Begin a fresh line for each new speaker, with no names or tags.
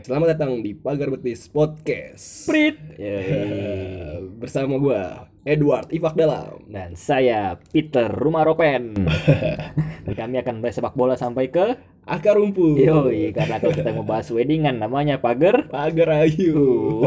Selamat datang di Pagar Betis Podcast.
Prit. iya.
Eh, bersama gua Edward Ifak Dalam.
Dan saya Peter Rumah Ropen. Dan kami akan bahas sepak bola sampai ke
Akar rumput.
Yoi, karena kalau kita mau bahas weddingan namanya pagar.
Pagar Ayu.